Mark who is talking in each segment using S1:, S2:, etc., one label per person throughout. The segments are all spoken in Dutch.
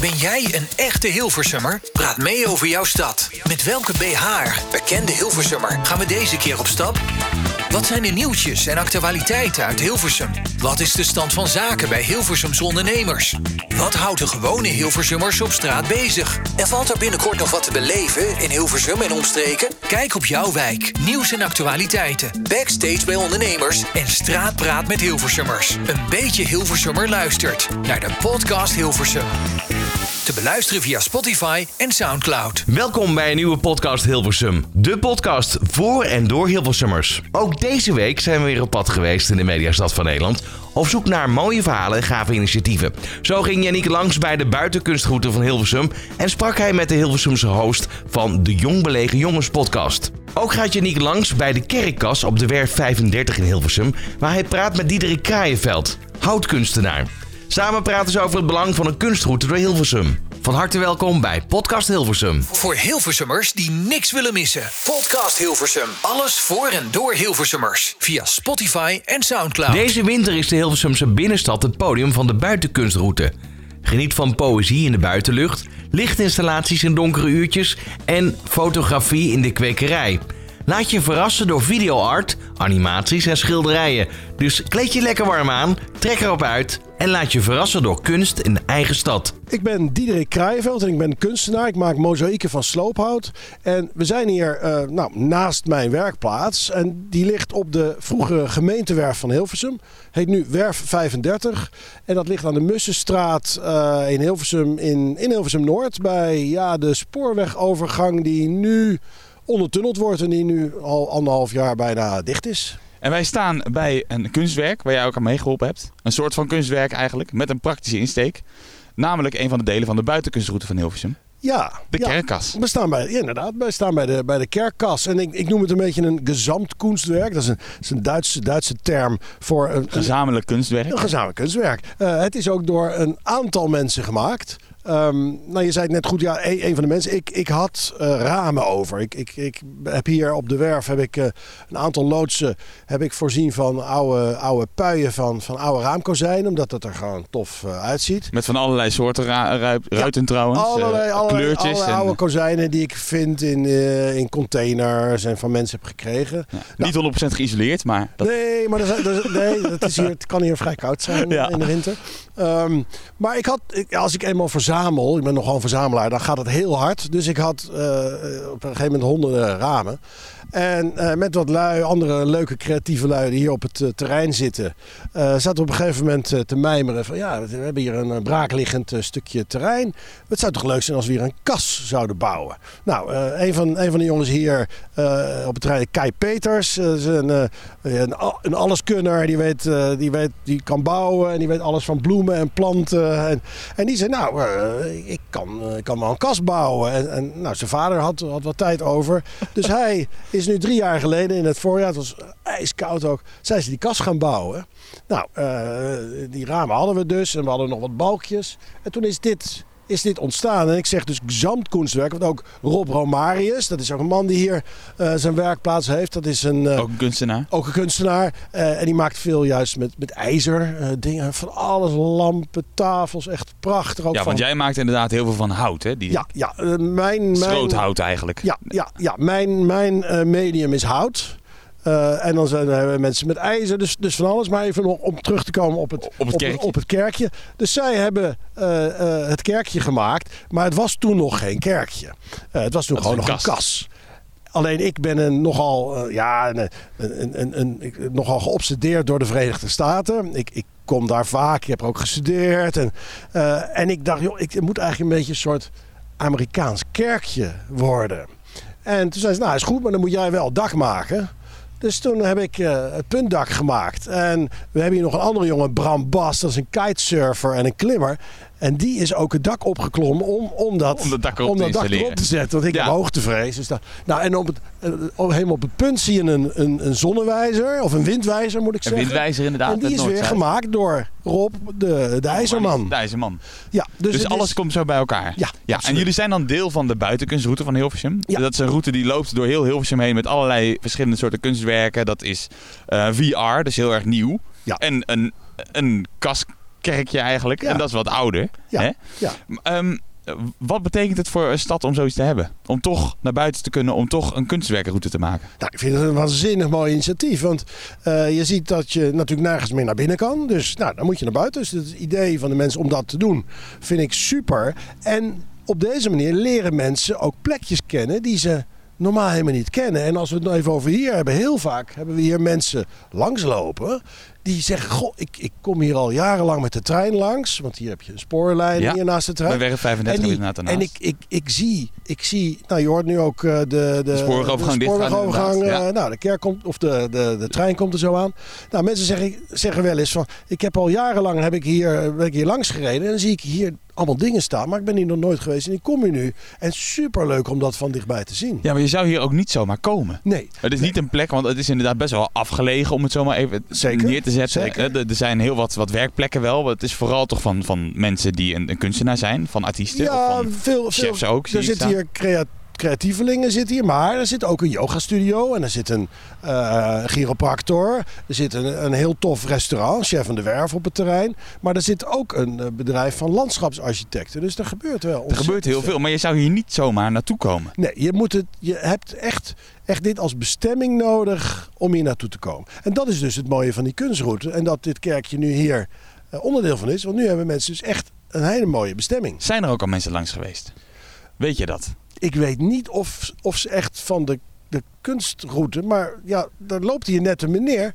S1: Ben jij een echte Hilversummer? Praat mee over jouw stad. Met welke BH'er, bekende Hilversummer, gaan we deze keer op stap? Wat zijn de nieuwtjes en actualiteiten uit Hilversum? Wat is de stand van zaken bij Hilversums ondernemers? Wat houdt de gewone Hilversummers op straat bezig? En valt er binnenkort nog wat te beleven in Hilversum en omstreken? Kijk op jouw wijk, nieuws en actualiteiten, backstage bij ondernemers en straatpraat met Hilversummers. Een beetje Hilversummer luistert naar de podcast Hilversum. Te beluisteren via Spotify en Soundcloud.
S2: Welkom bij een nieuwe podcast Hilversum. De podcast voor en door Hilversummers. Ook deze week zijn we weer op pad geweest in de mediastad van Nederland. Op zoek naar mooie verhalen en gave initiatieven. Zo ging Yannick langs bij de buitenkunstroute van Hilversum. En sprak hij met de Hilversumse host van de Jong Belegen Jongens podcast. Ook gaat Yannick langs bij de kerkkas op de Werf 35 in Hilversum. Waar hij praat met Diederik Kraaienveld, houtkunstenaar. Samen praten ze over het belang van een kunstroute door Hilversum. Van harte welkom bij Podcast Hilversum.
S1: Voor Hilversummers die niks willen missen. Podcast Hilversum. Alles voor en door Hilversummers. Via Spotify en Soundcloud.
S2: Deze winter is de Hilversumse binnenstad het podium van de buitenkunstroute. Geniet van poëzie in de buitenlucht, lichtinstallaties in donkere uurtjes en fotografie in de kwekerij. Laat je verrassen door videoart, animaties en schilderijen. Dus kleed je lekker warm aan, trek erop uit en laat je verrassen door kunst in de eigen stad.
S3: Ik ben Diederik Kraaienveld en ik ben kunstenaar. Ik maak mozaïeken van sloophout. En we zijn hier eh, nou, naast mijn werkplaats. En die ligt op de vroegere gemeentewerf van Hilversum. Heet nu Werf 35. En dat ligt aan de Mussenstraat eh, in Hilversum, in, in Hilversum Noord. Bij ja, de spoorwegovergang die nu ondertunneld wordt en die nu al anderhalf jaar bijna dicht is.
S4: En wij staan bij een kunstwerk waar jij ook aan meegeholpen hebt. Een soort van kunstwerk eigenlijk, met een praktische insteek. Namelijk een van de delen van de buitenkunstroute van Hilversum.
S3: Ja,
S4: De
S3: ja.
S4: kerkkas.
S3: We staan bij, ja, inderdaad, we staan bij de, bij de kerkkas. En ik, ik noem het een beetje een gezamtkunstwerk. Dat is een, dat is een Duitse, Duitse term voor een, een,
S4: Gezamenlijk kunstwerk.
S3: een gezamenlijk kunstwerk. Eh, het is ook door een aantal mensen gemaakt. Ehm, nou, je zei het net goed, ja, een, een van de mensen. Ik, ik had eh, ramen over. Ik, ik, ik heb hier op de werf heb ik, eh, een aantal loodsen heb ik voorzien van oude, oude puien van, van oude raamkozijnen. Omdat dat er gewoon tof eh, uitziet.
S4: Met van allerlei soorten ra- ruip- ruiten trouwens.
S3: Allerlei,
S4: eh,
S3: allerlei-
S4: kleurtjes.
S3: allerlei
S4: en,
S3: oude kozijnen die ik vind in, eh, in containers en van mensen heb gekregen.
S4: ja, Niet 100% geïsoleerd, maar dat,
S3: Nee, maar dat, is- dat is- nee, dat is hier, het kan hier vrij koud zijn
S4: Ja.
S3: in de winter. Ehm, maar ik had, ik- als ik eenmaal verzamel, ik ben nogal een verzamelaar, dan gaat het heel hard. Dus ik had eh, op een gegeven moment honderden ramen. En eh, met wat lui, andere leuke creatieve lui die hier op het eh, terrein zitten, eh, zaten op een gegeven moment eh, te mijmeren van ja, we hebben hier een eh, braakliggend eh, stukje terrein. Het zou toch leuk zijn als we hier een kas zouden bouwen. Nou, eh, een, van, een van de jongens hier eh, op het terrein, Kai Peters, eh, is een, eh, een, al- een alleskunner, die, weet, eh, die, weet, die kan bouwen en die weet alles van bloemen en planten. En, en die zei, nou, eh, ik kan, eh, ik kan wel een kas bouwen. En, en nou, zijn vader had, had wat tijd over. Dus hij is nu drie jaar geleden, in het voorjaar, het was ijskoud ook, zijn ze die kas gaan bouwen. Nou, eh, die ramen hadden we dus en we hadden nog wat balkjes. En toen is dit, is dit ontstaan. En ik zeg dus gezamtkunstwerk, want ook Rob Romarius, dat is ook een man die hier eh, zijn werkplaats heeft. Dat is een... eh,
S4: ook een kunstenaar.
S3: ook een kunstenaar. eh, en die maakt veel juist met, met ijzer. eh, dingen van alles. Lampen, tafels. Echt prachtig. Ook
S4: Ja, want
S3: van,
S4: jij maakt inderdaad heel veel van hout, hè? Die
S3: Ja, ja eh, mijn... mijn
S4: schroothout eigenlijk.
S3: ja, ja, ja, mijn, mijn eh, medium is hout. Eh, en dan zijn er mensen met ijzer, dus, dus van alles. Maar even om, om terug te komen op het,
S4: Op het kerkje.
S3: op het kerkje. Dus zij hebben eh, eh, het kerkje gemaakt, maar het was toen nog geen kerkje. Eh, het was toen
S4: Dat is
S3: gewoon nog
S4: een
S3: een
S4: kas.
S3: kas. Alleen ik ben een nogal, eh, ja, een, een, een, een, een- ik- nogal geobsedeerd door de Verenigde Staten. Ik, ik kom daar vaak, ik heb er ook gestudeerd. En, eh, en ik dacht, joh, ik moet eigenlijk een beetje een soort Amerikaans kerkje worden. En toen zei ze, nou is goed, maar dan moet jij wel het dak maken. Dus toen heb ik eh, het puntdak gemaakt. En we hebben hier nog een andere jongen, Bram Bas. Dat is een kitesurfer en een klimmer. En die is ook het dak opgeklommen om, om dat,
S4: Om dat dak erop
S3: om
S4: te
S3: dat dak
S4: installeren.
S3: erop te zetten. Want ik
S4: Ja.
S3: heb hoogtevrees. Dus dat, nou, en op het, eh, op- helemaal op het punt zie je een, een, een zonnewijzer. Of een windwijzer moet ik
S4: Een
S3: zeggen.
S4: windwijzer inderdaad.
S3: En die
S4: met
S3: is weer
S4: Noordzuid.
S3: gemaakt door Rob de, de IJzerman.
S4: De IJzerman.
S3: Ja, dus
S4: Dus,
S3: het
S4: alles
S3: is-
S4: komt zo bij elkaar.
S3: Ja,
S4: en
S3: absoluut.
S4: jullie zijn dan deel van de buitenkunstroute van Hilversum.
S3: Ja.
S4: Dat is een route die loopt door heel Hilversum heen met allerlei verschillende soorten kunstwerken. Dat is eh, VR, dus heel erg nieuw.
S3: Ja.
S4: En een, een kas kerkje eigenlijk.
S3: Ja.
S4: En dat is wat ouder.
S3: Ja,
S4: Hè?
S3: ja.
S4: M- ehm, wat betekent het voor een stad om zoiets te hebben? Om toch naar buiten te kunnen, om toch een kunstwerkenroute te maken?
S3: Nou, ik vind het een waanzinnig mooi initiatief. Want eh, je ziet dat je natuurlijk nergens meer naar binnen kan. Dus nou, dan moet je naar buiten. Dus het idee van de mensen om dat te doen vind ik super. En op deze manier leren mensen ook plekjes kennen die ze normaal helemaal niet kennen. En als we het nou even over hier hebben. Heel vaak hebben we hier mensen langslopen. Die zeggen, goh, ik, ik kom hier al jarenlang met de trein langs. Want hier heb je een spoorlijn
S4: Ja,
S3: hier naast de trein.
S4: Bij weg 35
S3: die-
S4: inderdaad daarnaast.
S3: en ik, ik, ik, zie, ik zie, nou je hoort nu ook eh, de, de, de
S4: spoorwegovergang dichtgaan
S3: spoorwegovergang,
S4: inderdaad,
S3: eh, nou, de kerk komt, of de, de, de trein komt er zo aan. Nou, mensen zeggen, zeggen wel eens van, ik heb al jarenlang heb ik hier, ben ik hier langs gereden. En dan zie ik hier allemaal dingen staan, maar ik ben hier nog nooit geweest. En ik kom hier nu. En superleuk om dat van dichtbij te zien.
S4: Ja, maar je zou hier ook niet zomaar komen.
S3: Nee,
S4: Het is niet een plek, want het is inderdaad best wel afgelegen om het zomaar even
S3: Zeker,
S4: neer te zetten.
S3: zeker.
S4: Eh, Er er zijn heel wat, wat werkplekken wel, maar het is vooral toch van, van mensen die een, een kunstenaar zijn, van artiesten of
S3: ja,
S4: van
S3: veel, veel,
S4: chefs ook. zie
S3: Er
S4: ik
S3: zitten
S4: staan.
S3: hier crea- creatievelingen, zitten hier, maar er zit ook een yogastudio en er zit een eh chiropractor. Er zit een, een heel tof restaurant, Chef van de Werf op het terrein. Maar er zit ook een eh, bedrijf van landschapsarchitecten. Dus er gebeurt wel.
S4: Er gebeurt heel veel, maar je zou hier niet zomaar naartoe komen.
S3: Nee, je, moet het, je hebt echt, echt dit als bestemming nodig om hier naartoe te komen. En dat is dus het mooie van die kunstroute. En dat dit kerkje nu hier eh, onderdeel van is. Want nu hebben mensen dus echt een hele mooie bestemming.
S4: Zijn er ook al mensen langs geweest? Weet je dat?
S3: ik weet niet of, of ze echt van de, de kunstroute, maar ja, daar loopt hier net een meneer.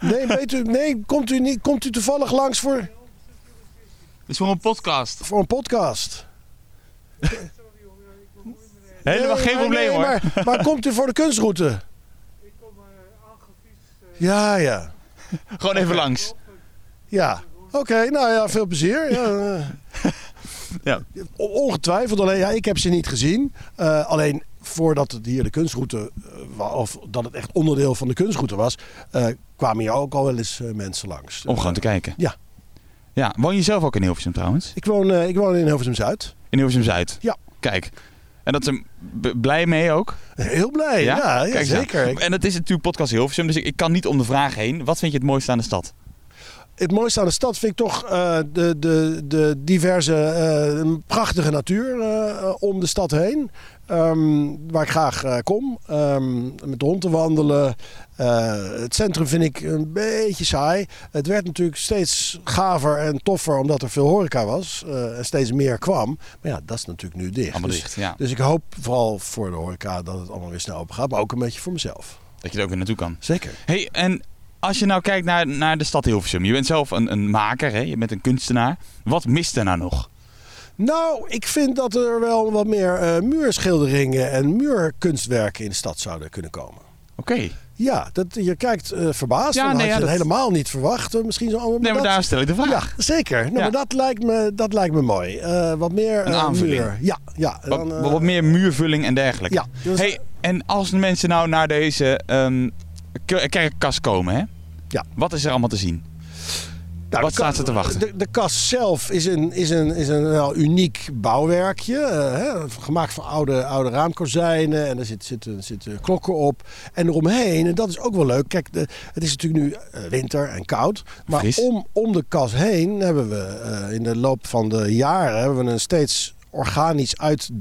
S3: Nee, weet u, nee komt, u niet, komt u toevallig langs voor,
S4: Het is voor een podcast.
S3: voor een podcast?
S4: Helemaal
S3: Nee,
S4: geen
S3: maar-
S4: probleem
S3: nee,
S4: hoor.
S3: Maar, maar komt u voor de kunstroute? Ja, ja.
S4: Gewoon even langs.
S3: Ja. Oké, nou ja, veel plezier. Ja, eh.
S4: Ja.
S3: O- Ongetwijfeld, alleen ja, ik heb ze niet gezien. Eh, alleen voordat het hier de kunstroute, eh, wa- of dat het echt onderdeel van de kunstroute was, eh, kwamen hier ook al wel eens eh, mensen langs.
S4: Om gewoon te kijken.
S3: Ja.
S4: Ja, woon je zelf ook in Hilversum trouwens?
S3: Ik woon, eh, ik woon in Hilversum-Zuid.
S4: In Hilversum-Zuid?
S3: Ja.
S4: Kijk. En dat is een b- blij mee ook.
S3: Heel blij, ja, ja,
S4: Kijk eens aan.
S3: zeker. Ik-
S4: En dat is natuurlijk podcast Hilversum, dus ik, ik kan niet om de vraag heen. Wat vind je het mooiste aan de stad?
S3: Het mooiste aan de stad vind ik toch eh, de, de, de diverse, eh, prachtige natuur eh, om de stad heen. Ehm, waar ik graag eh, kom. Ehm, met de hond te wandelen. Eh, het centrum vind ik een beetje saai. Het werd natuurlijk steeds gaver en toffer omdat er veel horeca was. eh, en steeds meer kwam. Maar ja, dat is natuurlijk nu dicht.
S4: Allemaal
S3: Dus,
S4: dicht, ja.
S3: dus ik hoop vooral voor de horeca dat het allemaal weer snel open gaat. Maar ook een beetje voor mezelf.
S4: Dat je er ook weer naartoe kan.
S3: Zeker.
S4: hey, en als je nou kijkt naar, naar de stad Hilversum. Je bent zelf een, een maker, hè? je bent een kunstenaar. Wat mist er nou nog?
S3: Nou, ik vind dat er wel wat meer eh, muurschilderingen en muurkunstwerken in de stad zouden kunnen komen.
S4: Oké.
S3: Ja, dat, je kijkt eh, verbaasd.
S4: Ja,
S3: Ja,
S4: nee,
S3: had
S4: ja,
S3: je
S4: dat-
S3: helemaal niet verwacht. Eh, Misschien zo allemaal.
S4: Nee, maar daar stel ik de vraag.
S3: Ja, zeker. Nou,
S4: Ja.
S3: maar dat, lijkt me, dat lijkt me mooi. Eh, wat meer
S4: Een
S3: eh,
S4: aanvulling.
S3: muur. Ja, ja.
S4: Wat,
S3: dan, eh,
S4: wat meer muurvulling en dergelijke.
S3: Ja, dus-
S4: hey, en als mensen nou naar deze ehm, ke- kerkkast komen, hè?
S3: Ja.
S4: wat is er allemaal te zien?
S3: Nou,
S4: Wat
S3: de ka-
S4: staat er te wachten?
S3: De, de kast zelf is een, is een, is een wel uniek bouwwerkje. eh, hè, gemaakt van oude, oude raamkozijnen. En er zit- zitten zitten klokken op. En eromheen, en dat is ook wel leuk. Kijk, de, het is natuurlijk nu eh, winter en koud. Maar
S4: Fris.
S3: om, om de kas heen hebben we eh, in de loop van de jaren... hebben we een steeds organisch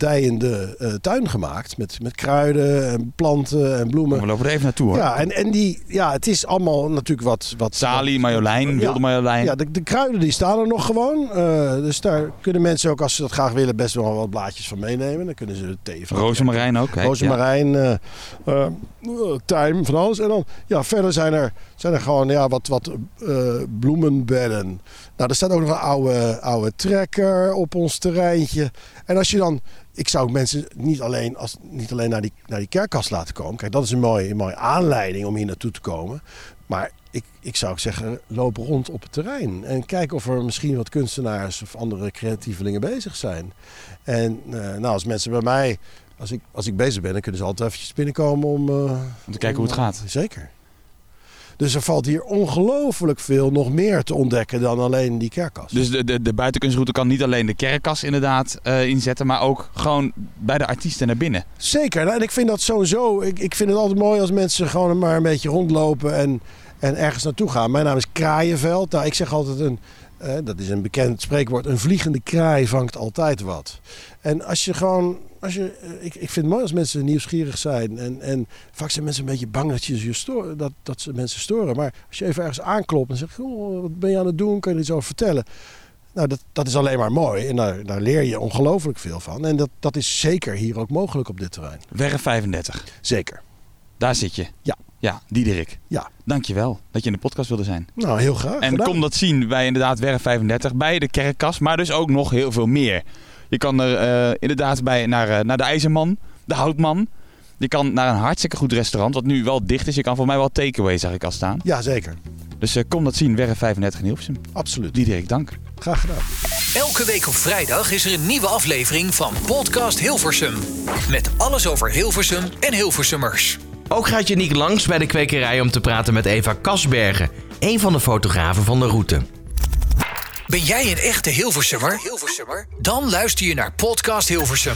S3: uitdijende eh, tuin gemaakt. Met, met kruiden en planten en bloemen.
S4: We lopen er even naartoe hoor.
S3: Ja, en, en die, ja, het is allemaal natuurlijk wat... wat
S4: Sali, Marjolein,
S3: Ja.
S4: Wilde Marjolein.
S3: ja, de, de kruiden die staan er nog gewoon. Eh, dus daar kunnen mensen ook, als ze dat graag willen, best wel wat blaadjes van meenemen. Dan kunnen ze de thee van.
S4: Rozemarijn ook. hè?
S3: Rozemarijn, eh eh, tijm, van alles. En dan, ja, verder zijn er, zijn er gewoon ja, wat, wat eh, bloemenbedden. Nou, er staat ook nog een oude, oude trekker op ons terreintje. En als je dan, ik zou mensen niet alleen, als, niet alleen naar, die, naar die kerkkast laten komen. Kijk, dat is een mooie, een mooie aanleiding om hier naartoe te komen. Maar ik, ik zou ook zeggen, loop rond op het terrein. En kijk of er misschien wat kunstenaars of andere creatievelingen bezig zijn. En eh, nou, als mensen bij mij, als ik, als ik bezig ben, dan kunnen ze altijd eventjes binnenkomen om... eh,
S4: Ja. Om te kijken hoe het gaat.
S3: Zeker. Dus er valt hier ongelooflijk veel nog meer te ontdekken dan alleen die kerkkast.
S4: Dus de, de, de buitenkunstroute kan niet alleen de kerkkas inderdaad eh, inzetten, maar ook gewoon bij de artiesten naar binnen.
S3: Zeker. Nou, en ik vind dat sowieso. Ik, ik vind het altijd mooi als mensen gewoon maar een beetje rondlopen en, en ergens naartoe gaan. Mijn naam is Kraaienveld. Nou, ik zeg altijd een, Eh, dat is een bekend spreekwoord. Een vliegende kraai vangt altijd wat. En als je gewoon. Als je, eh, ik, ik vind het mooi als mensen nieuwsgierig zijn. En, en vaak zijn mensen een beetje bang dat, je ze storen, dat, dat ze mensen storen. Maar als je even ergens aanklopt en zegt: "Goh, Wat ben je aan het doen? Kun je er iets over vertellen? Nou, dat, dat is alleen maar mooi. En daar, daar leer je ongelooflijk veel van. En dat, dat is zeker hier ook mogelijk op dit terrein.
S4: Werf 35.
S3: Zeker.
S4: Daar zit je.
S3: Ja.
S4: Ja, Diederik.
S3: Ja.
S4: Dankjewel dat je in de podcast wilde zijn.
S3: Nou, heel graag.
S4: En
S3: Gedaan.
S4: kom dat zien bij inderdaad Werf 35, bij de Kerkkas, maar dus ook nog heel veel meer. Je kan er eh, inderdaad bij naar, eh, naar de IJzerman, de Houtman. Je kan naar een hartstikke goed restaurant, wat nu wel dicht is. Je kan voor mij wel takeaway, zag ik al staan.
S3: Ja, zeker.
S4: Dus eh, kom dat zien, Werf 35 in Hilversum.
S3: Absoluut.
S4: Diederik, dank.
S3: Graag gedaan.
S1: Elke week op vrijdag is er een nieuwe aflevering van Podcast Hilversum. Met alles over Hilversum en Hilversummers.
S2: Ook gaat Janiek langs bij de kwekerij om te praten met Eva Kasbergen, een van de fotografen van de route.
S1: Ben jij een echte Hilversummer? Hilversummer? Dan luister je naar Podcast Hilversum.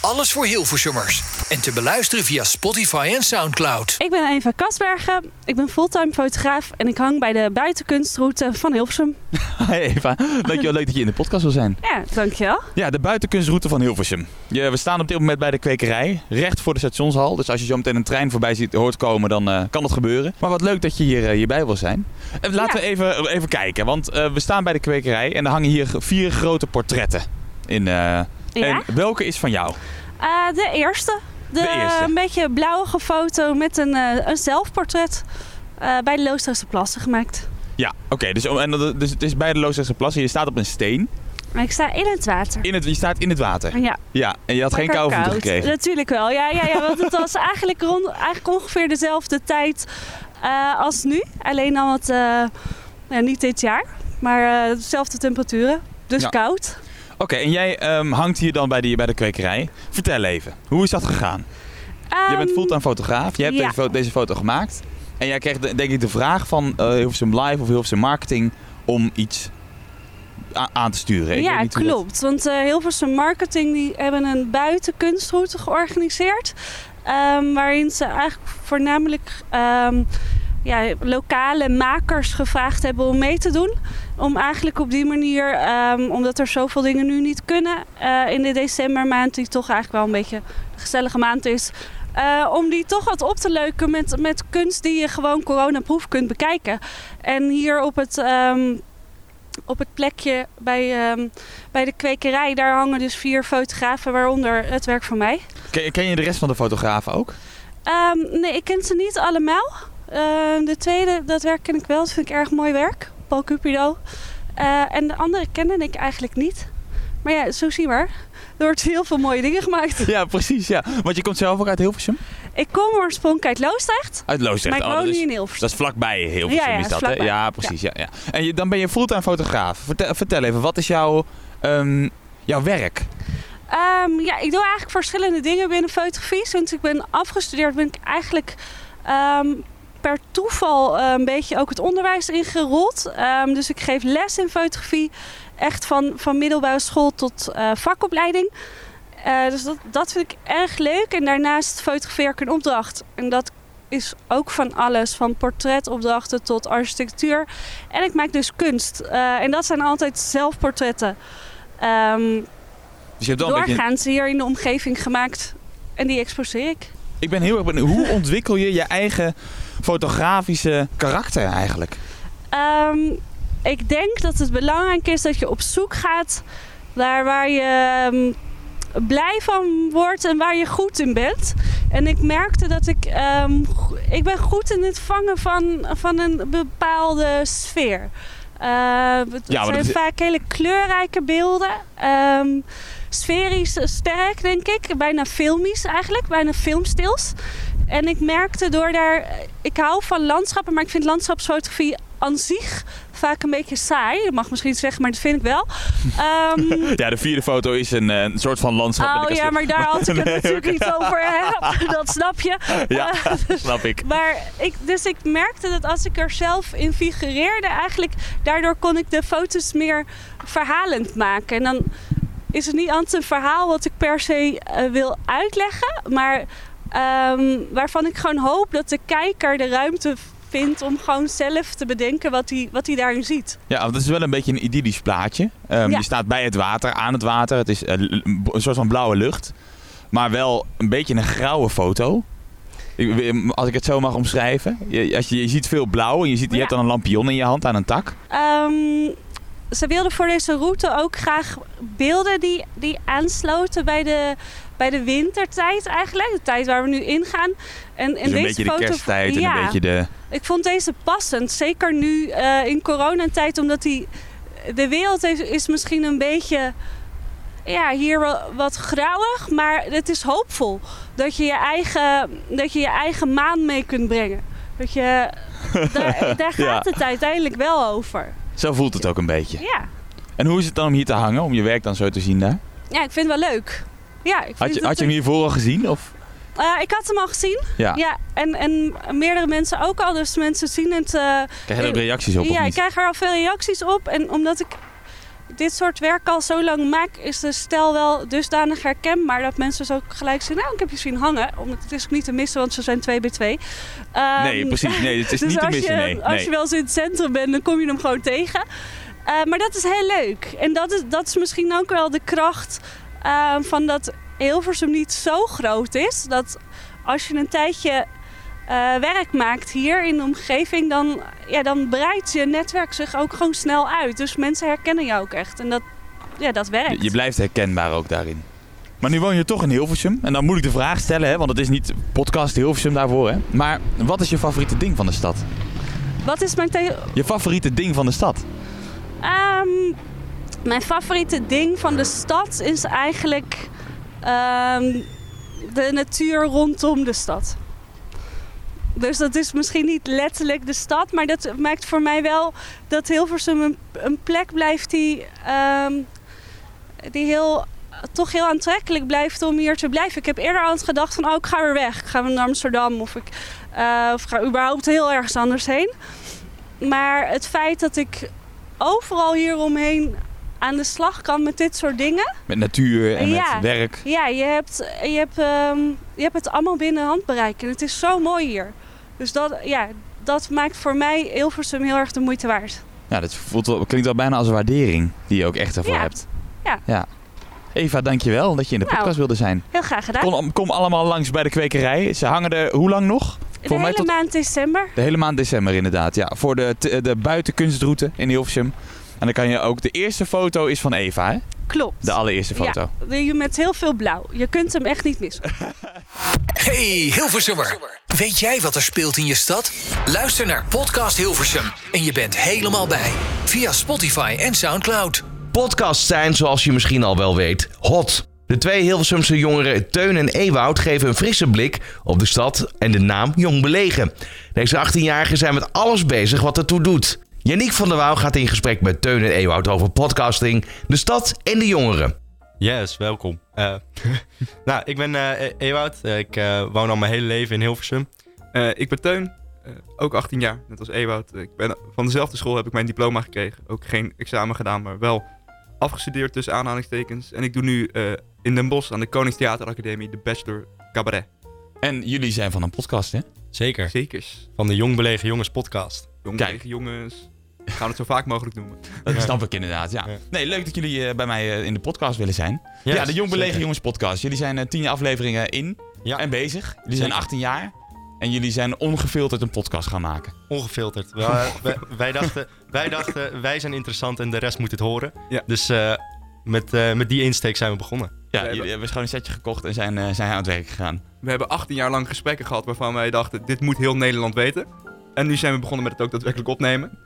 S1: Alles voor Hilversummers. En te beluisteren via Spotify en Soundcloud.
S5: Ik ben Eva Kasbergen, ik ben fulltime fotograaf en ik hang bij de buitenkunstroute van Hilversum.
S4: Hey Eva, dankjewel, leuk dat je in de podcast wil zijn.
S5: Ja, dankjewel.
S4: Ja, de buitenkunstroute van Hilversum. Je, we staan op dit moment bij de kwekerij, recht voor de stationshal. Dus als je zo meteen een trein voorbij ziet, hoort komen, dan eh, kan dat gebeuren. Maar wat leuk dat je hier, eh, hierbij wil zijn. Eh, laten
S5: Ja.
S4: we even, even kijken, want eh, we staan bij de kwekerij en er hangen hier vier grote portretten in. eh,
S5: Ja?
S4: En welke is van jou?
S5: Eh, de eerste. De,
S4: De eerste.
S5: Een beetje blauwige foto met een, eh, een zelfportret eh, bij de Loosdrechtse Plassen gemaakt.
S4: Ja, oké, dus, om- en dat- dus het is bij de Loosdrechtse Plassen. Je staat op een steen,
S5: Maar ik sta in het water.
S4: in het, je staat in het water.
S5: Ja,
S4: Ja, en je had geen
S5: lekker
S4: koude voeten
S5: koud.
S4: gekregen.
S5: Natuurlijk wel, ja, ja, ja want het was eigenlijk, rond, eigenlijk ongeveer dezelfde tijd eh, als nu. Alleen al wat, eh, ja, niet dit jaar, maar eh, dezelfde temperaturen. Dus
S4: Ja.
S5: koud.
S4: Oké, en jij ehm, hangt hier dan bij, die, bij de kwekerij. Vertel even, hoe is dat gegaan? Je bent
S5: Ehm,
S4: fulltime fotograaf. Je hebt
S5: ja.
S4: deze, foto, deze foto gemaakt. En jij kreeg de- denk ik de vraag van eh Hilversum Live of Hilversum Marketing om iets a- aan te sturen. Ik weet
S5: ja,
S4: niet hoe dat-
S5: klopt. Want eh Hilversum Marketing die hebben een buitenkunstroute georganiseerd. ehm, waarin ze eigenlijk voornamelijk ehm, ja, lokale makers gevraagd hebben om mee te doen. Om eigenlijk op die manier, ehm, omdat er zoveel dingen nu niet kunnen eh, in de decembermaand, die toch eigenlijk wel een beetje een gezellige maand is. eh, om die toch wat op te leuken met, met kunst die je gewoon coronaproof kunt bekijken. En hier op het ehm, op het plekje bij, ehm, bij de kwekerij, daar hangen dus vier fotografen, waaronder het werk van mij.
S4: Ken, ken je de rest van de fotografen ook?
S5: Ehm, nee, ik ken ze niet allemaal. Ehm, de tweede, dat werk ken ik wel, dat vind ik erg mooi werk. Paul Cupido. Eh, en de andere kende ik eigenlijk niet. Maar ja, zo zie je maar. Er wordt heel veel mooie dingen gemaakt.
S4: Ja, precies. Ja. Want je komt zelf ook uit Hilversum?
S5: Ik kom oorspronkelijk uit Loosdrecht,
S4: Uit Loosdrecht.
S5: maar ik
S4: Oh,
S5: woon
S4: dat,
S5: nu
S4: is,
S5: in
S4: dat
S5: Hilversum.
S4: is vlakbij Hilversum
S5: Ja, ja,
S4: is
S5: is
S4: dat, hè?
S5: vlakbij.
S4: Ja, precies. Ja. Ja, En je, dan ben je fulltime fotograaf. Vertel, vertel even, wat is jouw, ehm, jouw werk?
S5: Ehm, ja, ik doe eigenlijk verschillende dingen binnen fotografie. Sinds ik ben afgestudeerd ben ik eigenlijk ehm, per toeval eh, een beetje ook het onderwijs ingerold. Ehm, dus ik geef les in fotografie. Echt van, van middelbare school tot eh, vakopleiding. Eh, dus dat, dat vind ik erg leuk. En daarnaast fotografeer ik een opdracht. En dat is ook van alles. Van portretopdrachten tot architectuur. En ik maak dus kunst. Eh, en dat zijn altijd zelfportretten. Ehm
S4: Dus je hebt wel een beetje...
S5: doorgaans hier in de omgeving gemaakt. En die exposeer ik.
S4: Ik ben heel erg benieuwd, hoe ontwikkel je je eigen fotografische karakter eigenlijk?
S5: Ehm, ik denk dat het belangrijk is dat je op zoek gaat naar waar je ehm, blij van wordt en waar je goed in bent. En ik merkte dat ik, ehm, go- ik ben goed in het vangen van, van een bepaalde sfeer. Eh, het
S4: maar
S5: zijn
S4: dat is-
S5: vaak hele kleurrijke beelden. Ehm, sferisch sterk, denk ik. Bijna filmisch eigenlijk, bijna filmstils. En ik merkte door daar... Ik hou van landschappen, maar ik vind landschapsfotografie aan zich vaak een beetje saai. Je mag misschien zeggen, maar dat vind ik wel. Ehm,
S4: Ja, de vierde foto is een, eh, een soort van landschap.
S5: Oh
S4: met een
S5: ja, maar daar had ik het
S4: Nee,
S5: natuurlijk
S4: oké.
S5: niet over. Hè? Dat snap je.
S4: Ja,
S5: Eh,
S4: snap ik.
S5: maar ik, dus ik merkte dat als ik er zelf in figureerde, eigenlijk daardoor kon ik de foto's meer verhalend maken. En dan is het niet altijd een verhaal wat ik per se eh, wil uitleggen, maar ehm, waarvan ik gewoon hoop dat de kijker de ruimte vindt om gewoon zelf te bedenken wat hij, wat hij daarin ziet.
S4: Ja, want het is wel een beetje een idyllisch plaatje. Ehm,
S5: Ja.
S4: Je staat bij het water, aan het water. Het is eh, l- een soort van blauwe lucht. Maar wel een beetje een grauwe foto. Ik- Als ik het zo mag omschrijven. Je, als je, je ziet veel blauw en je, ziet, je
S5: Ja.
S4: hebt dan een lampion in je hand aan een tak.
S5: Ehm, ze wilden voor deze route ook graag beelden die, die aansloten bij de, bij de wintertijd eigenlijk. De tijd waar we nu ingaan. En, en
S4: Dus een
S5: deze
S4: beetje de
S5: foto,
S4: kersttijd en
S5: Ja.
S4: een beetje de...
S5: Ik vond deze passend. Zeker nu eh, in coronatijd, omdat die, de wereld heeft, is misschien een beetje ja, hier wel wat grauwig. Maar het is hoopvol dat je je eigen, dat je je eigen maan mee kunt brengen. Dat je, daar, daar gaat
S4: Ja.
S5: het uiteindelijk wel over.
S4: Zo voelt het ook een beetje.
S5: Ja.
S4: En hoe is het dan om hier te hangen? Om je werk dan zo te zien daar?
S5: ja, ik vind het wel leuk. Ja, ik,
S4: Had
S5: vind
S4: je,
S5: het
S4: had je hem
S5: een-
S4: hiervoor al gezien? Of?
S5: Eh, ik had hem al gezien.
S4: Ja.
S5: Ja, en, en meerdere mensen ook al. Dus mensen zien het. eh,
S4: Krijg je er ook reacties op of
S5: Ja, ik
S4: niet?
S5: krijg er al veel reacties op. En omdat ik dit soort werk al zo lang maak, is de stijl wel dusdanig herkenbaar dat mensen dus ook gelijk zeggen: Nou, ik heb je zien hangen. Omdat het is ook niet te missen, want ze zijn twee bij twee. Ehm,
S4: Nee, precies. Nee, het is
S5: dus
S4: niet te
S5: als
S4: missen.
S5: je,
S4: nee.
S5: Als
S4: nee.
S5: je wel eens in het centrum bent, dan kom je hem gewoon tegen. Eh, maar dat is heel leuk. En dat is, dat is misschien ook wel de kracht eh, van dat Hilversum niet zo groot is. Dat als je een tijdje eh, werk maakt hier in de omgeving, dan, ja, dan breidt je netwerk zich ook gewoon snel uit. Dus mensen herkennen jou ook echt. En dat, ja, dat werkt.
S4: Je, je blijft herkenbaar ook daarin. Maar nu woon je toch in Hilversum. En dan moet ik de vraag stellen, hè, want het is niet podcast Hilversum daarvoor. Hè. Maar wat is je favoriete ding van de stad?
S5: Wat is mijn te-
S4: Je favoriete ding van de stad?
S5: Ehm, mijn favoriete ding van de stad is eigenlijk ehm, de natuur rondom de stad. Dus dat is misschien niet letterlijk de stad, maar dat maakt voor mij wel dat Hilversum een, een plek blijft die, ehm, die heel, toch heel aantrekkelijk blijft om hier te blijven. Ik heb eerder altijd gedacht van, oh ik ga weer weg. Ik ga naar Amsterdam of ik eh, of ga überhaupt heel ergens anders heen. Maar het feit dat ik overal hieromheen aan de slag kan met dit soort dingen.
S4: Met natuur en
S5: Ja.
S4: met werk.
S5: Ja, je hebt, je hebt, ehm, je hebt het allemaal binnen handbereik. En het is zo mooi hier. Dus dat, ja, dat maakt voor mij Hilversum heel erg de moeite waard.
S4: Ja, dat voelt wel, klinkt wel bijna als een waardering die je ook echt ervoor
S5: Ja.
S4: hebt.
S5: Ja.
S4: ja. Eva, dankjewel dat je in de
S5: Nou.
S4: podcast wilde zijn.
S5: Heel graag gedaan.
S4: Kom, kom allemaal langs bij de kwekerij. Ze hangen er hoe lang nog?
S5: de hele
S4: tot
S5: maand december.
S4: De hele maand december inderdaad, ja. Voor de, t- de buitenkunstroute in Hilversum. En dan kan je ook... De eerste foto is van Eva, hè?
S5: Klopt.
S4: De allereerste foto.
S5: Je- Met heel veel blauw. Je kunt hem echt niet missen.
S1: Hey Hilversummer, weet jij wat er speelt in je stad? Luister naar podcast Hilversum en je bent helemaal bij. Via Spotify en Soundcloud.
S2: Podcasts zijn, zoals je misschien al wel weet, hot. De twee Hilversumse jongeren Teun en Ewoud geven een frisse blik op de stad en de naam Jong Belegen. Deze 18-jarigen zijn met alles bezig wat ertoe doet. Yannick van der Wouw gaat in gesprek met Teun en Ewoud over podcasting, de stad en de jongeren.
S6: Yes, welkom. Eh, nou, ik ben eh E- Ewout. Eh, ik eh, woon al mijn hele leven in Hilversum.
S7: Eh, ik ben Teun, eh, ook 18 jaar, net als Ewout. Eh, Ik ben, van dezelfde school heb ik mijn diploma gekregen. Ook geen examen gedaan, maar wel afgestudeerd tussen aanhalingstekens. En ik doe nu eh, in Den Bosch aan de Koningstheateracademie de Bachelor Cabaret.
S4: En jullie zijn van een podcast, hè?
S6: Zeker.
S7: Zekers.
S6: Van de Jong Belegen Jongens podcast.
S7: Jongens
S4: Kijk.
S7: tegen jongens. We gaan het zo vaak mogelijk noemen.
S4: Dat snap ik inderdaad, ja.
S6: Ja.
S4: Nee, leuk dat jullie eh, bij mij eh, in de podcast willen zijn. ja, de Jong Belegen Jongens podcast. Jullie zijn eh, tien afleveringen in
S6: Ja.
S4: en bezig. Jullie
S6: Zeker.
S4: zijn 18 jaar. En jullie zijn ongefilterd een podcast gaan maken.
S6: Ongefilterd. We, eh, wij, wij dachten, wij dachten, wij zijn interessant en de rest moet het horen.
S7: Ja.
S6: Dus eh, met, eh, met die insteek zijn we begonnen.
S4: Ja,
S7: hebben-
S4: jullie hebben gewoon een setje gekocht en zijn, eh, zijn aan het werk gegaan.
S7: We hebben 18 jaar lang gesprekken gehad waarvan wij dachten, dit moet heel Nederland weten. En nu zijn we begonnen met het ook daadwerkelijk opnemen.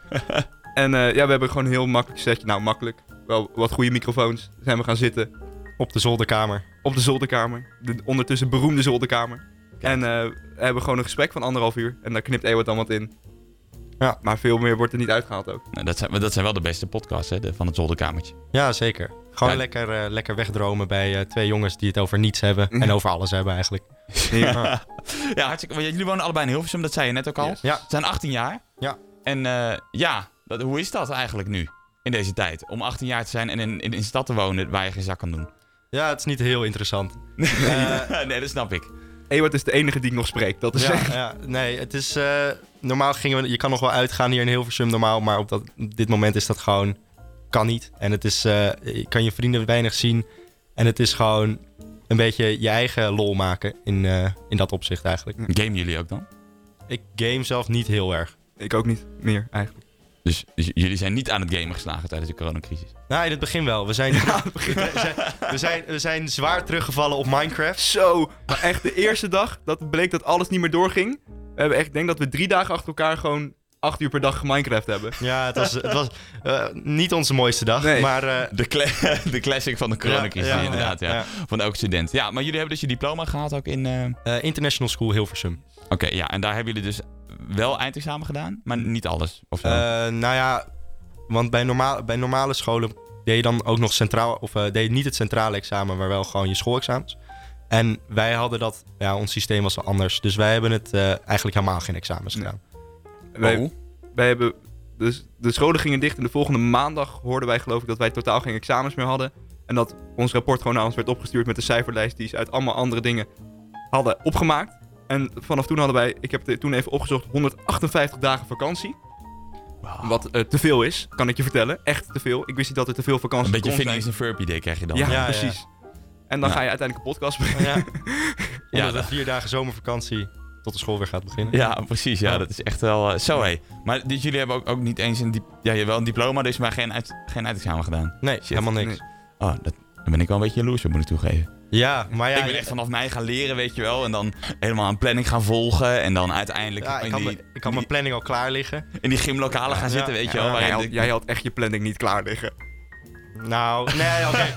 S7: en eh, ja, we hebben gewoon een heel makkelijk setje. Nou, makkelijk. Wel wat goede microfoons. Zijn we gaan zitten.
S6: Op de zolderkamer.
S7: op de zolderkamer. De ondertussen beroemde zolderkamer. En eh, we hebben gewoon een gesprek van anderhalf uur. En daar knipt Ewart dan wat in.
S6: Ja.
S7: Maar veel meer wordt er niet uitgehaald ook.
S4: Nou, dat, zijn, dat zijn wel de beste podcasts hè, de- van het zolderkamertje.
S6: Ja, zeker. Gewoon
S4: Ja.
S6: lekker, eh, lekker wegdromen bij eh, twee jongens die het over niets hebben. En over alles hebben eigenlijk.
S7: Ja.
S4: Ja, hartstikke. want Jullie wonen allebei in Hilversum, dat zei je net ook al.
S7: Yes.
S6: Ja.
S4: Ze zijn 18 jaar.
S6: Ja.
S4: En eh, ja, dat, hoe is dat eigenlijk nu? In deze tijd. Om 18 jaar te zijn en in, in, in een stad te wonen waar je geen zak kan doen. Eh.
S6: Ja, het is niet heel interessant.
S4: nee, dat snap ik.
S7: Ewout is de enige die ik nog spreek. Dat is
S6: Ja, ja, nee, het is... eh, normaal gingen we... Je kan nog wel uitgaan hier in Hilversum normaal, maar op, dat, op dit moment is dat gewoon... Kan niet. En het is... eh, je kan je vrienden weinig zien. En het is gewoon een beetje je eigen lol maken in, eh, in dat opzicht eigenlijk.
S4: Game jullie ook dan?
S6: Ik game zelf niet heel erg.
S7: ik ook niet meer eigenlijk.
S4: Dus j- jullie zijn niet aan het gamen geslagen tijdens de coronacrisis.
S6: Nou, in het begin wel. We zijn, we zijn, we zijn, we zijn zwaar teruggevallen op Minecraft.
S7: Zo, maar echt de eerste dag dat bleek dat alles niet meer doorging. We hebben echt, ik denk dat we drie dagen achter elkaar gewoon acht uur per dag Minecraft hebben.
S6: Ja, het was, het was eh, niet onze mooiste dag,
S7: Nee.
S6: maar... eh,
S4: De, cla- de classic van de coronacrisis,
S6: ja, ja,
S4: inderdaad. Ja. Van elk student. Ja, maar jullie hebben dus je diploma gehaald ook in... eh,
S6: eh, International School Hilversum.
S4: Oké, ja. En daar hebben jullie dus wel eindexamen gedaan, maar niet alles. Of zo.
S6: Eh, nou ja, want bij, normaal, bij normale scholen deed je dan ook nog centraal, of eh, deed je niet het centrale examen, maar wel gewoon je schoolexamens. En wij hadden dat, ja, ons systeem was wel anders. Dus wij hebben het eh, eigenlijk helemaal geen examens
S7: Nee.
S6: gedaan.
S7: Wij,
S4: Oh.
S7: wij hebben, dus de scholen gingen dicht en de volgende maandag hoorden wij geloof ik dat wij totaal geen examens meer hadden. En dat ons rapport gewoon naar ons werd opgestuurd met de cijferlijst die ze uit allemaal andere dingen hadden opgemaakt. En vanaf toen hadden wij, ik heb het toen even opgezocht, 158 dagen vakantie. Wat eh, te veel is, kan ik je vertellen. Echt te veel. Ik wist niet dat er te veel vakantie
S4: een beetje
S7: kon zijn.
S4: Phineas en Ferb idee krijg je dan.
S7: Ja,
S6: Ja, ja.
S7: precies. En dan
S4: Ja.
S7: ga je uiteindelijk een podcast maken.
S6: Ja, ja
S4: dat-
S6: de vier dagen zomervakantie tot de school weer gaat beginnen.
S4: Ja, precies.
S6: Oh.
S4: Ja, dat is echt wel eh, zo, hé. Maar dus jullie hebben ook, ook niet eens een... Diep, ja, je hebt wel een diploma, dus maar geen, uit, geen eindexamen gedaan.
S6: Nee, helemaal niks.
S7: Nee.
S4: Oh, dat, daar ben ik wel een beetje jaloers op, moet ik toegeven.
S6: Ja, maar ja,
S4: ik ben echt vanaf mij gaan leren, weet je wel. En dan helemaal een planning gaan volgen. En dan uiteindelijk
S6: ja, ik
S4: in,
S6: had,
S4: die,
S6: mijn- ik had mijn planning al klaar liggen.
S4: in die gymlokalen gaan
S6: Ja,
S4: zitten, weet je wel.
S7: Ja,
S4: waarin
S7: jij, had,
S4: de-
S7: jij had echt je planning niet klaar liggen.
S6: Nou, nee, oké.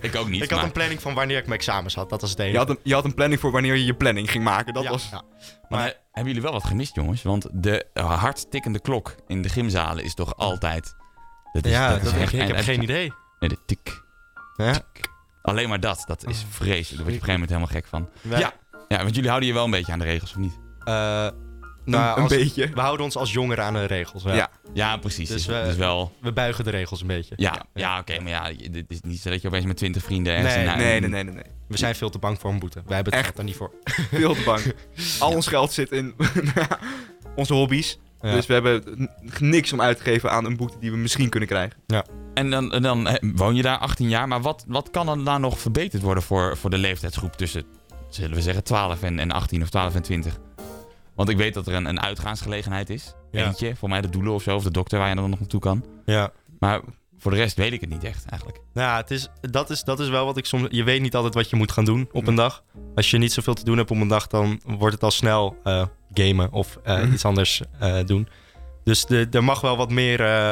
S4: ik ook niet,
S6: Ik had
S4: maar-
S6: een planning van wanneer ik mijn examens had. Dat was het enige.
S7: Je had, een, je had een planning voor wanneer je je planning ging maken. Dat
S6: Ja,
S7: was...
S6: ja.
S4: Maar
S6: Maar-
S4: eh, hebben jullie wel wat gemist, jongens? Want de eh, hard tikkende klok in de gymzalen is toch altijd... Dat
S6: Ja,
S4: dat
S6: dat- ik, ik heb
S4: eind-
S6: geen idee.
S4: Nee, de tik.
S6: Ja.
S4: Alleen maar dat, dat
S6: Oh.
S4: is vreselijk. Daar word je op een gegeven moment helemaal gek van.
S6: Ja.
S4: Ja, want jullie houden je wel een beetje aan de regels, of niet?
S6: Eh,
S7: Een,
S6: nou,
S7: een
S6: als-
S7: beetje.
S6: We houden ons als jongeren aan de regels. Ja.
S7: Ja.
S4: Ja, precies. Dus,
S6: Dus
S4: dus,
S6: we-
S4: wel...
S6: We buigen de regels een beetje.
S4: Ja, ja. oké, maar ja, je- dit is niet zo dat je opeens met twintig vrienden...
S6: Nee,
S4: ergens in-
S7: Nee, nee, nee, nee. nee.
S6: We zijn veel te bang voor een boete. Wij hebben het
S7: Echt?
S6: echt daar niet voor.
S7: Veel te bang. Al ons geld zit in onze hobby's.
S6: Ja.
S7: Dus we hebben n- niks om uit te geven aan een boete die we misschien kunnen krijgen.
S4: En dan, en dan eh, woon je daar 18 jaar, maar wat, wat kan er daar nog verbeterd worden voor, voor de leeftijdsgroep tussen, zullen we zeggen, 12 en, en 18 of 12 en 20? Want ik weet dat er een, een uitgaansgelegenheid is.
S6: Ja.
S4: Eentje, voor mij de doelen of zo, of de dokter waar je dan nog naartoe kan.
S6: Ja.
S4: Maar voor de rest weet ik het niet echt eigenlijk.
S6: Nou, ja, het is, dat, is, dat is wel wat ik soms. Je weet niet altijd wat je moet gaan doen op een dag. Als je niet zoveel te doen hebt op een dag, dan wordt het al snel eh, gamen of eh,
S7: Mhm.
S6: iets anders eh, doen. Dus de- er mag wel wat meer eh,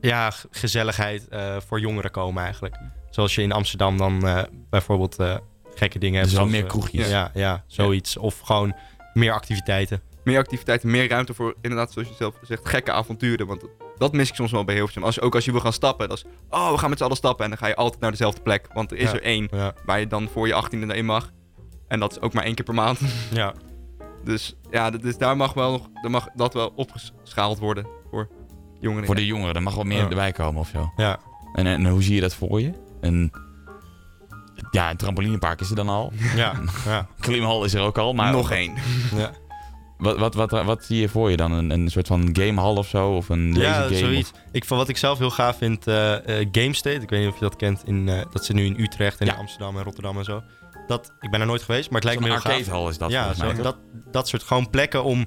S6: ja, g- gezelligheid eh, voor jongeren komen eigenlijk. Zoals je in Amsterdam dan eh, bijvoorbeeld eh, gekke dingen hebt.
S4: Dus wel
S6: zoals,
S4: meer
S6: eh,
S4: kroegjes.
S6: Ja, ja, zoiets. Of gewoon meer activiteiten.
S7: Meer activiteiten, meer ruimte voor inderdaad, zoals je zelf zegt, gekke avonturen. Want dat, dat mis ik soms wel bij Hilversum. Als, ook als je wil gaan stappen. Dat is, oh, we gaan met z'n allen stappen. En dan ga je altijd naar dezelfde plek. Want er is
S6: Ja.
S7: er één
S6: Ja,
S7: waar je dan voor je 18e naar in mag. En dat is ook maar één keer per maand.
S6: ja.
S7: Dus ja, dat is- daar mag wel nog, daar mag dat wel opgeschaald worden voor jongeren.
S4: Voor de jongeren, er mag wat meer
S6: Ja.
S4: erbij komen of zo.
S6: Ja.
S4: En, en hoe zie je dat voor je? Een, ja, een trampolinepark is er dan al.
S6: ja, ja.
S4: Klimhal is er ook al, maar...
S7: nog één.
S4: Wat, wat, wat, wat zie je voor je dan? Een, een soort van gamehal of zo? Of een laser
S6: Ja,
S4: game?
S6: zoiets. Ik, van wat ik zelf heel gaaf vind, eh eh, Game State. Ik weet niet of je dat kent. In, eh, dat zit nu in Utrecht en
S4: Ja.
S6: in Amsterdam en Rotterdam en zo. Dat, ik ben er nooit geweest, maar het
S4: Lijkt
S6: lijkt me heel gaaf.
S4: arcadehal is dat
S6: ja,
S4: volgens mij.
S6: zo, dat, dat soort gewoon plekken om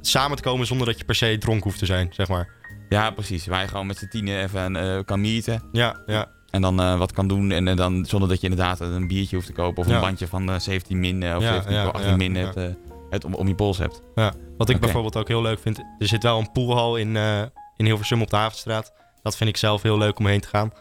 S6: samen te komen zonder dat je per se dronken hoeft te zijn, zeg maar.
S4: Ja, precies. Waar je gewoon met z'n tienen even eh, kan meeten.
S6: Ja, ja.
S4: En dan eh, wat kan doen. En eh, dan zonder dat je inderdaad een biertje hoeft te kopen. Of
S6: Ja.
S4: een bandje van eh, 17 min eh, of
S6: Ja,
S4: 17,
S6: ja,
S4: 18
S6: ja,
S4: min
S6: ja.
S4: het, eh, het om, om je pols hebt.
S6: Wat ik
S4: Oké.
S6: bijvoorbeeld ook heel leuk vind, er zit wel een poolhal in, eh, in Hilversum op de Havenstraat. Dat vind ik zelf heel leuk om heen te gaan.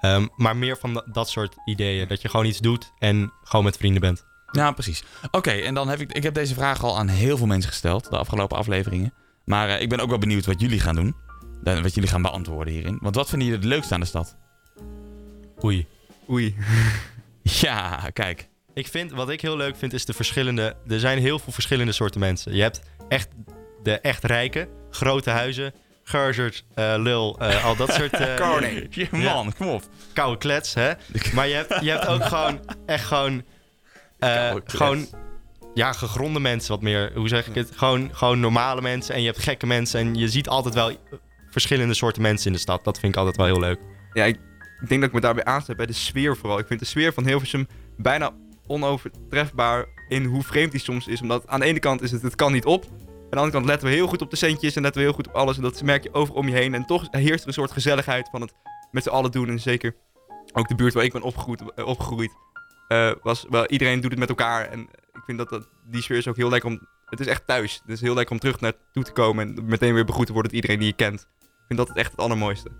S6: Ehm, maar meer van da- dat soort ideeën. Dat je gewoon iets doet en gewoon met vrienden bent.
S4: Ja, precies. Oké, en dan heb ik... Ik heb deze vraag al aan heel veel mensen gesteld. De afgelopen afleveringen. Maar eh, ik ben ook wel benieuwd wat jullie gaan doen. eh, Wat jullie gaan beantwoorden hierin. Want wat vinden jullie het leukste aan de stad?
S6: Oei.
S7: Oei.
S4: Ja, kijk.
S6: Ik vind, wat ik heel leuk vind, is de verschillende... Er zijn heel veel verschillende soorten mensen. Je hebt echt de echt rijken, grote huizen, Gerzert, eh, Lul, eh, al dat soort... eh,
S4: Ja, Man, kom op.
S6: Koude klets, hè? Maar je hebt, je hebt ook gewoon echt gewoon... eh,
S4: Koude klets.
S6: gewoon ja, gegronde mensen wat meer. Hoe zeg ik het? Gewoon, gewoon normale mensen en je hebt gekke mensen. En je ziet altijd wel verschillende soorten mensen in de stad. Dat vind ik altijd wel heel leuk.
S7: Ja, ik, ik denk dat ik me daarbij aansluit bij de sfeer vooral. Ik vind de sfeer van Hilversum bijna onovertrefbaar in hoe vreemd die soms is. Omdat aan de ene kant is het, het kan niet op. Aan de andere kant letten we heel goed op de centjes en letten we heel goed op alles. En dat merk je over om je heen. En toch heerst er een soort gezelligheid van het met z'n allen doen. En zeker ook de buurt waar ik ben opgegroeid, eh, opgegroeid eh, was wel, iedereen doet het met elkaar. En ik vind dat, dat die sfeer is ook heel lekker om... Het is echt thuis. Het is heel lekker om terug naartoe te komen en meteen weer begroet te worden door iedereen die je kent. Ik vind dat het echt het allermooiste.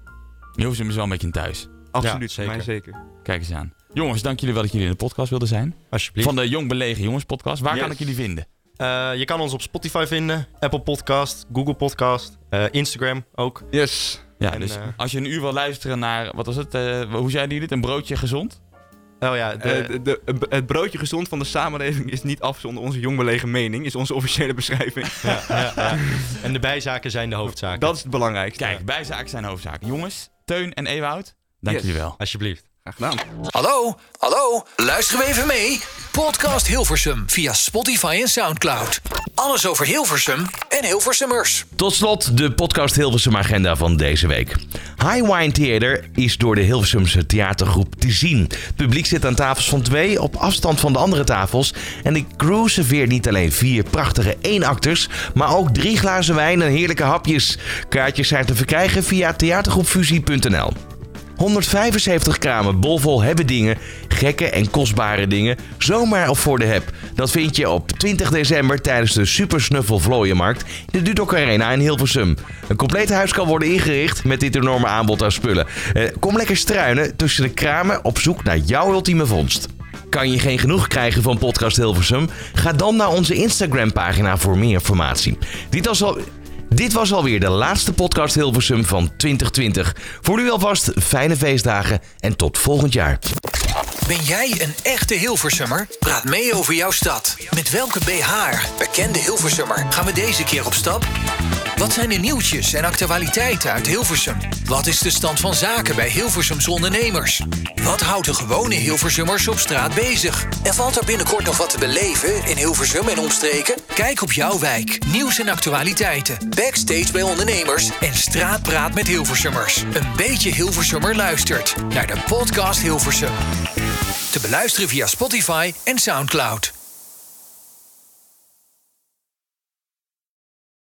S4: Hilversum is dus wel een beetje een thuis.
S7: Absoluut,
S6: Ja,
S7: voor mij zeker.
S4: Kijk eens aan. Jongens, dank jullie wel dat jullie in de podcast wilden zijn.
S6: Alsjeblieft.
S4: Van de Jong Belegen Jongens podcast. Waar
S6: Yes.
S4: kan ik jullie vinden?
S6: Eh, je kan ons op Spotify vinden, Apple Podcast, Google Podcast, eh, Instagram ook.
S7: Yes.
S4: Ja,
S6: En,
S4: dus
S6: eh,
S4: als je een uur wil luisteren naar, wat was het, eh, hoe zeiden jullie het, een broodje gezond?
S6: Oh ja, de,
S7: Eh, de, de- het broodje gezond van de samenleving is niet af zonder onze jongbelegen mening, is onze officiële beschrijving.
S6: ja, ja, ja. en de bijzaken zijn de hoofdzaken.
S7: Dat is het belangrijkste.
S4: Kijk, bijzaak zijn hoofdzaak. Jongens, Teun en Ewoud, dank
S7: Yes.
S4: jullie wel.
S6: Alsjeblieft.
S7: Graag gedaan.
S1: Hallo, hallo, luisteren we even mee? Podcast Hilversum via Spotify en Soundcloud. Alles over Hilversum en Hilversummers.
S2: Tot slot de podcast Hilversum Agenda van deze week. High Wine Theater is door de Hilversumse theatergroep te zien. Het publiek zit aan tafels van twee op afstand van de andere tafels. En de crew serveert niet alleen vier prachtige eenacters, maar ook drie glazen wijn en heerlijke hapjes. Kaartjes zijn te verkrijgen via theatergroepfusie.nl. 175 kramen bolvol hebben dingen, gekke en kostbare dingen, zomaar op voor de heb. Dat vind je op 20 december tijdens de Super Snuffel Vlooienmarkt in de Dudok Arena in Hilversum. Een compleet huis kan worden ingericht met dit enorme aanbod aan spullen. Eh, kom lekker struinen tussen de kramen op zoek naar jouw ultieme vondst. Kan je geen genoeg krijgen van Podcast Hilversum? Ga dan naar onze Instagram-pagina voor meer informatie. Dit was, al, dit was alweer de laatste Podcast Hilversum van 2020. Voor nu alvast fijne feestdagen en tot volgend jaar.
S1: Ben jij een echte Hilversummer? Praat mee over jouw stad. Met welke BH'er, bekende Hilversummer, gaan we deze keer op stap? Wat zijn de nieuwtjes en actualiteiten uit Hilversum? Wat is de stand van zaken bij Hilversumse ondernemers? Wat houdt de gewone Hilversummers op straat bezig? En valt er binnenkort nog wat te beleven in Hilversum en omstreken? Kijk op jouw wijk. Nieuws en actualiteiten. Backstage bij ondernemers en straatpraat met Hilversummers. Een beetje Hilversummer luistert naar de podcast Hilversum. Te beluisteren via Spotify en Soundcloud.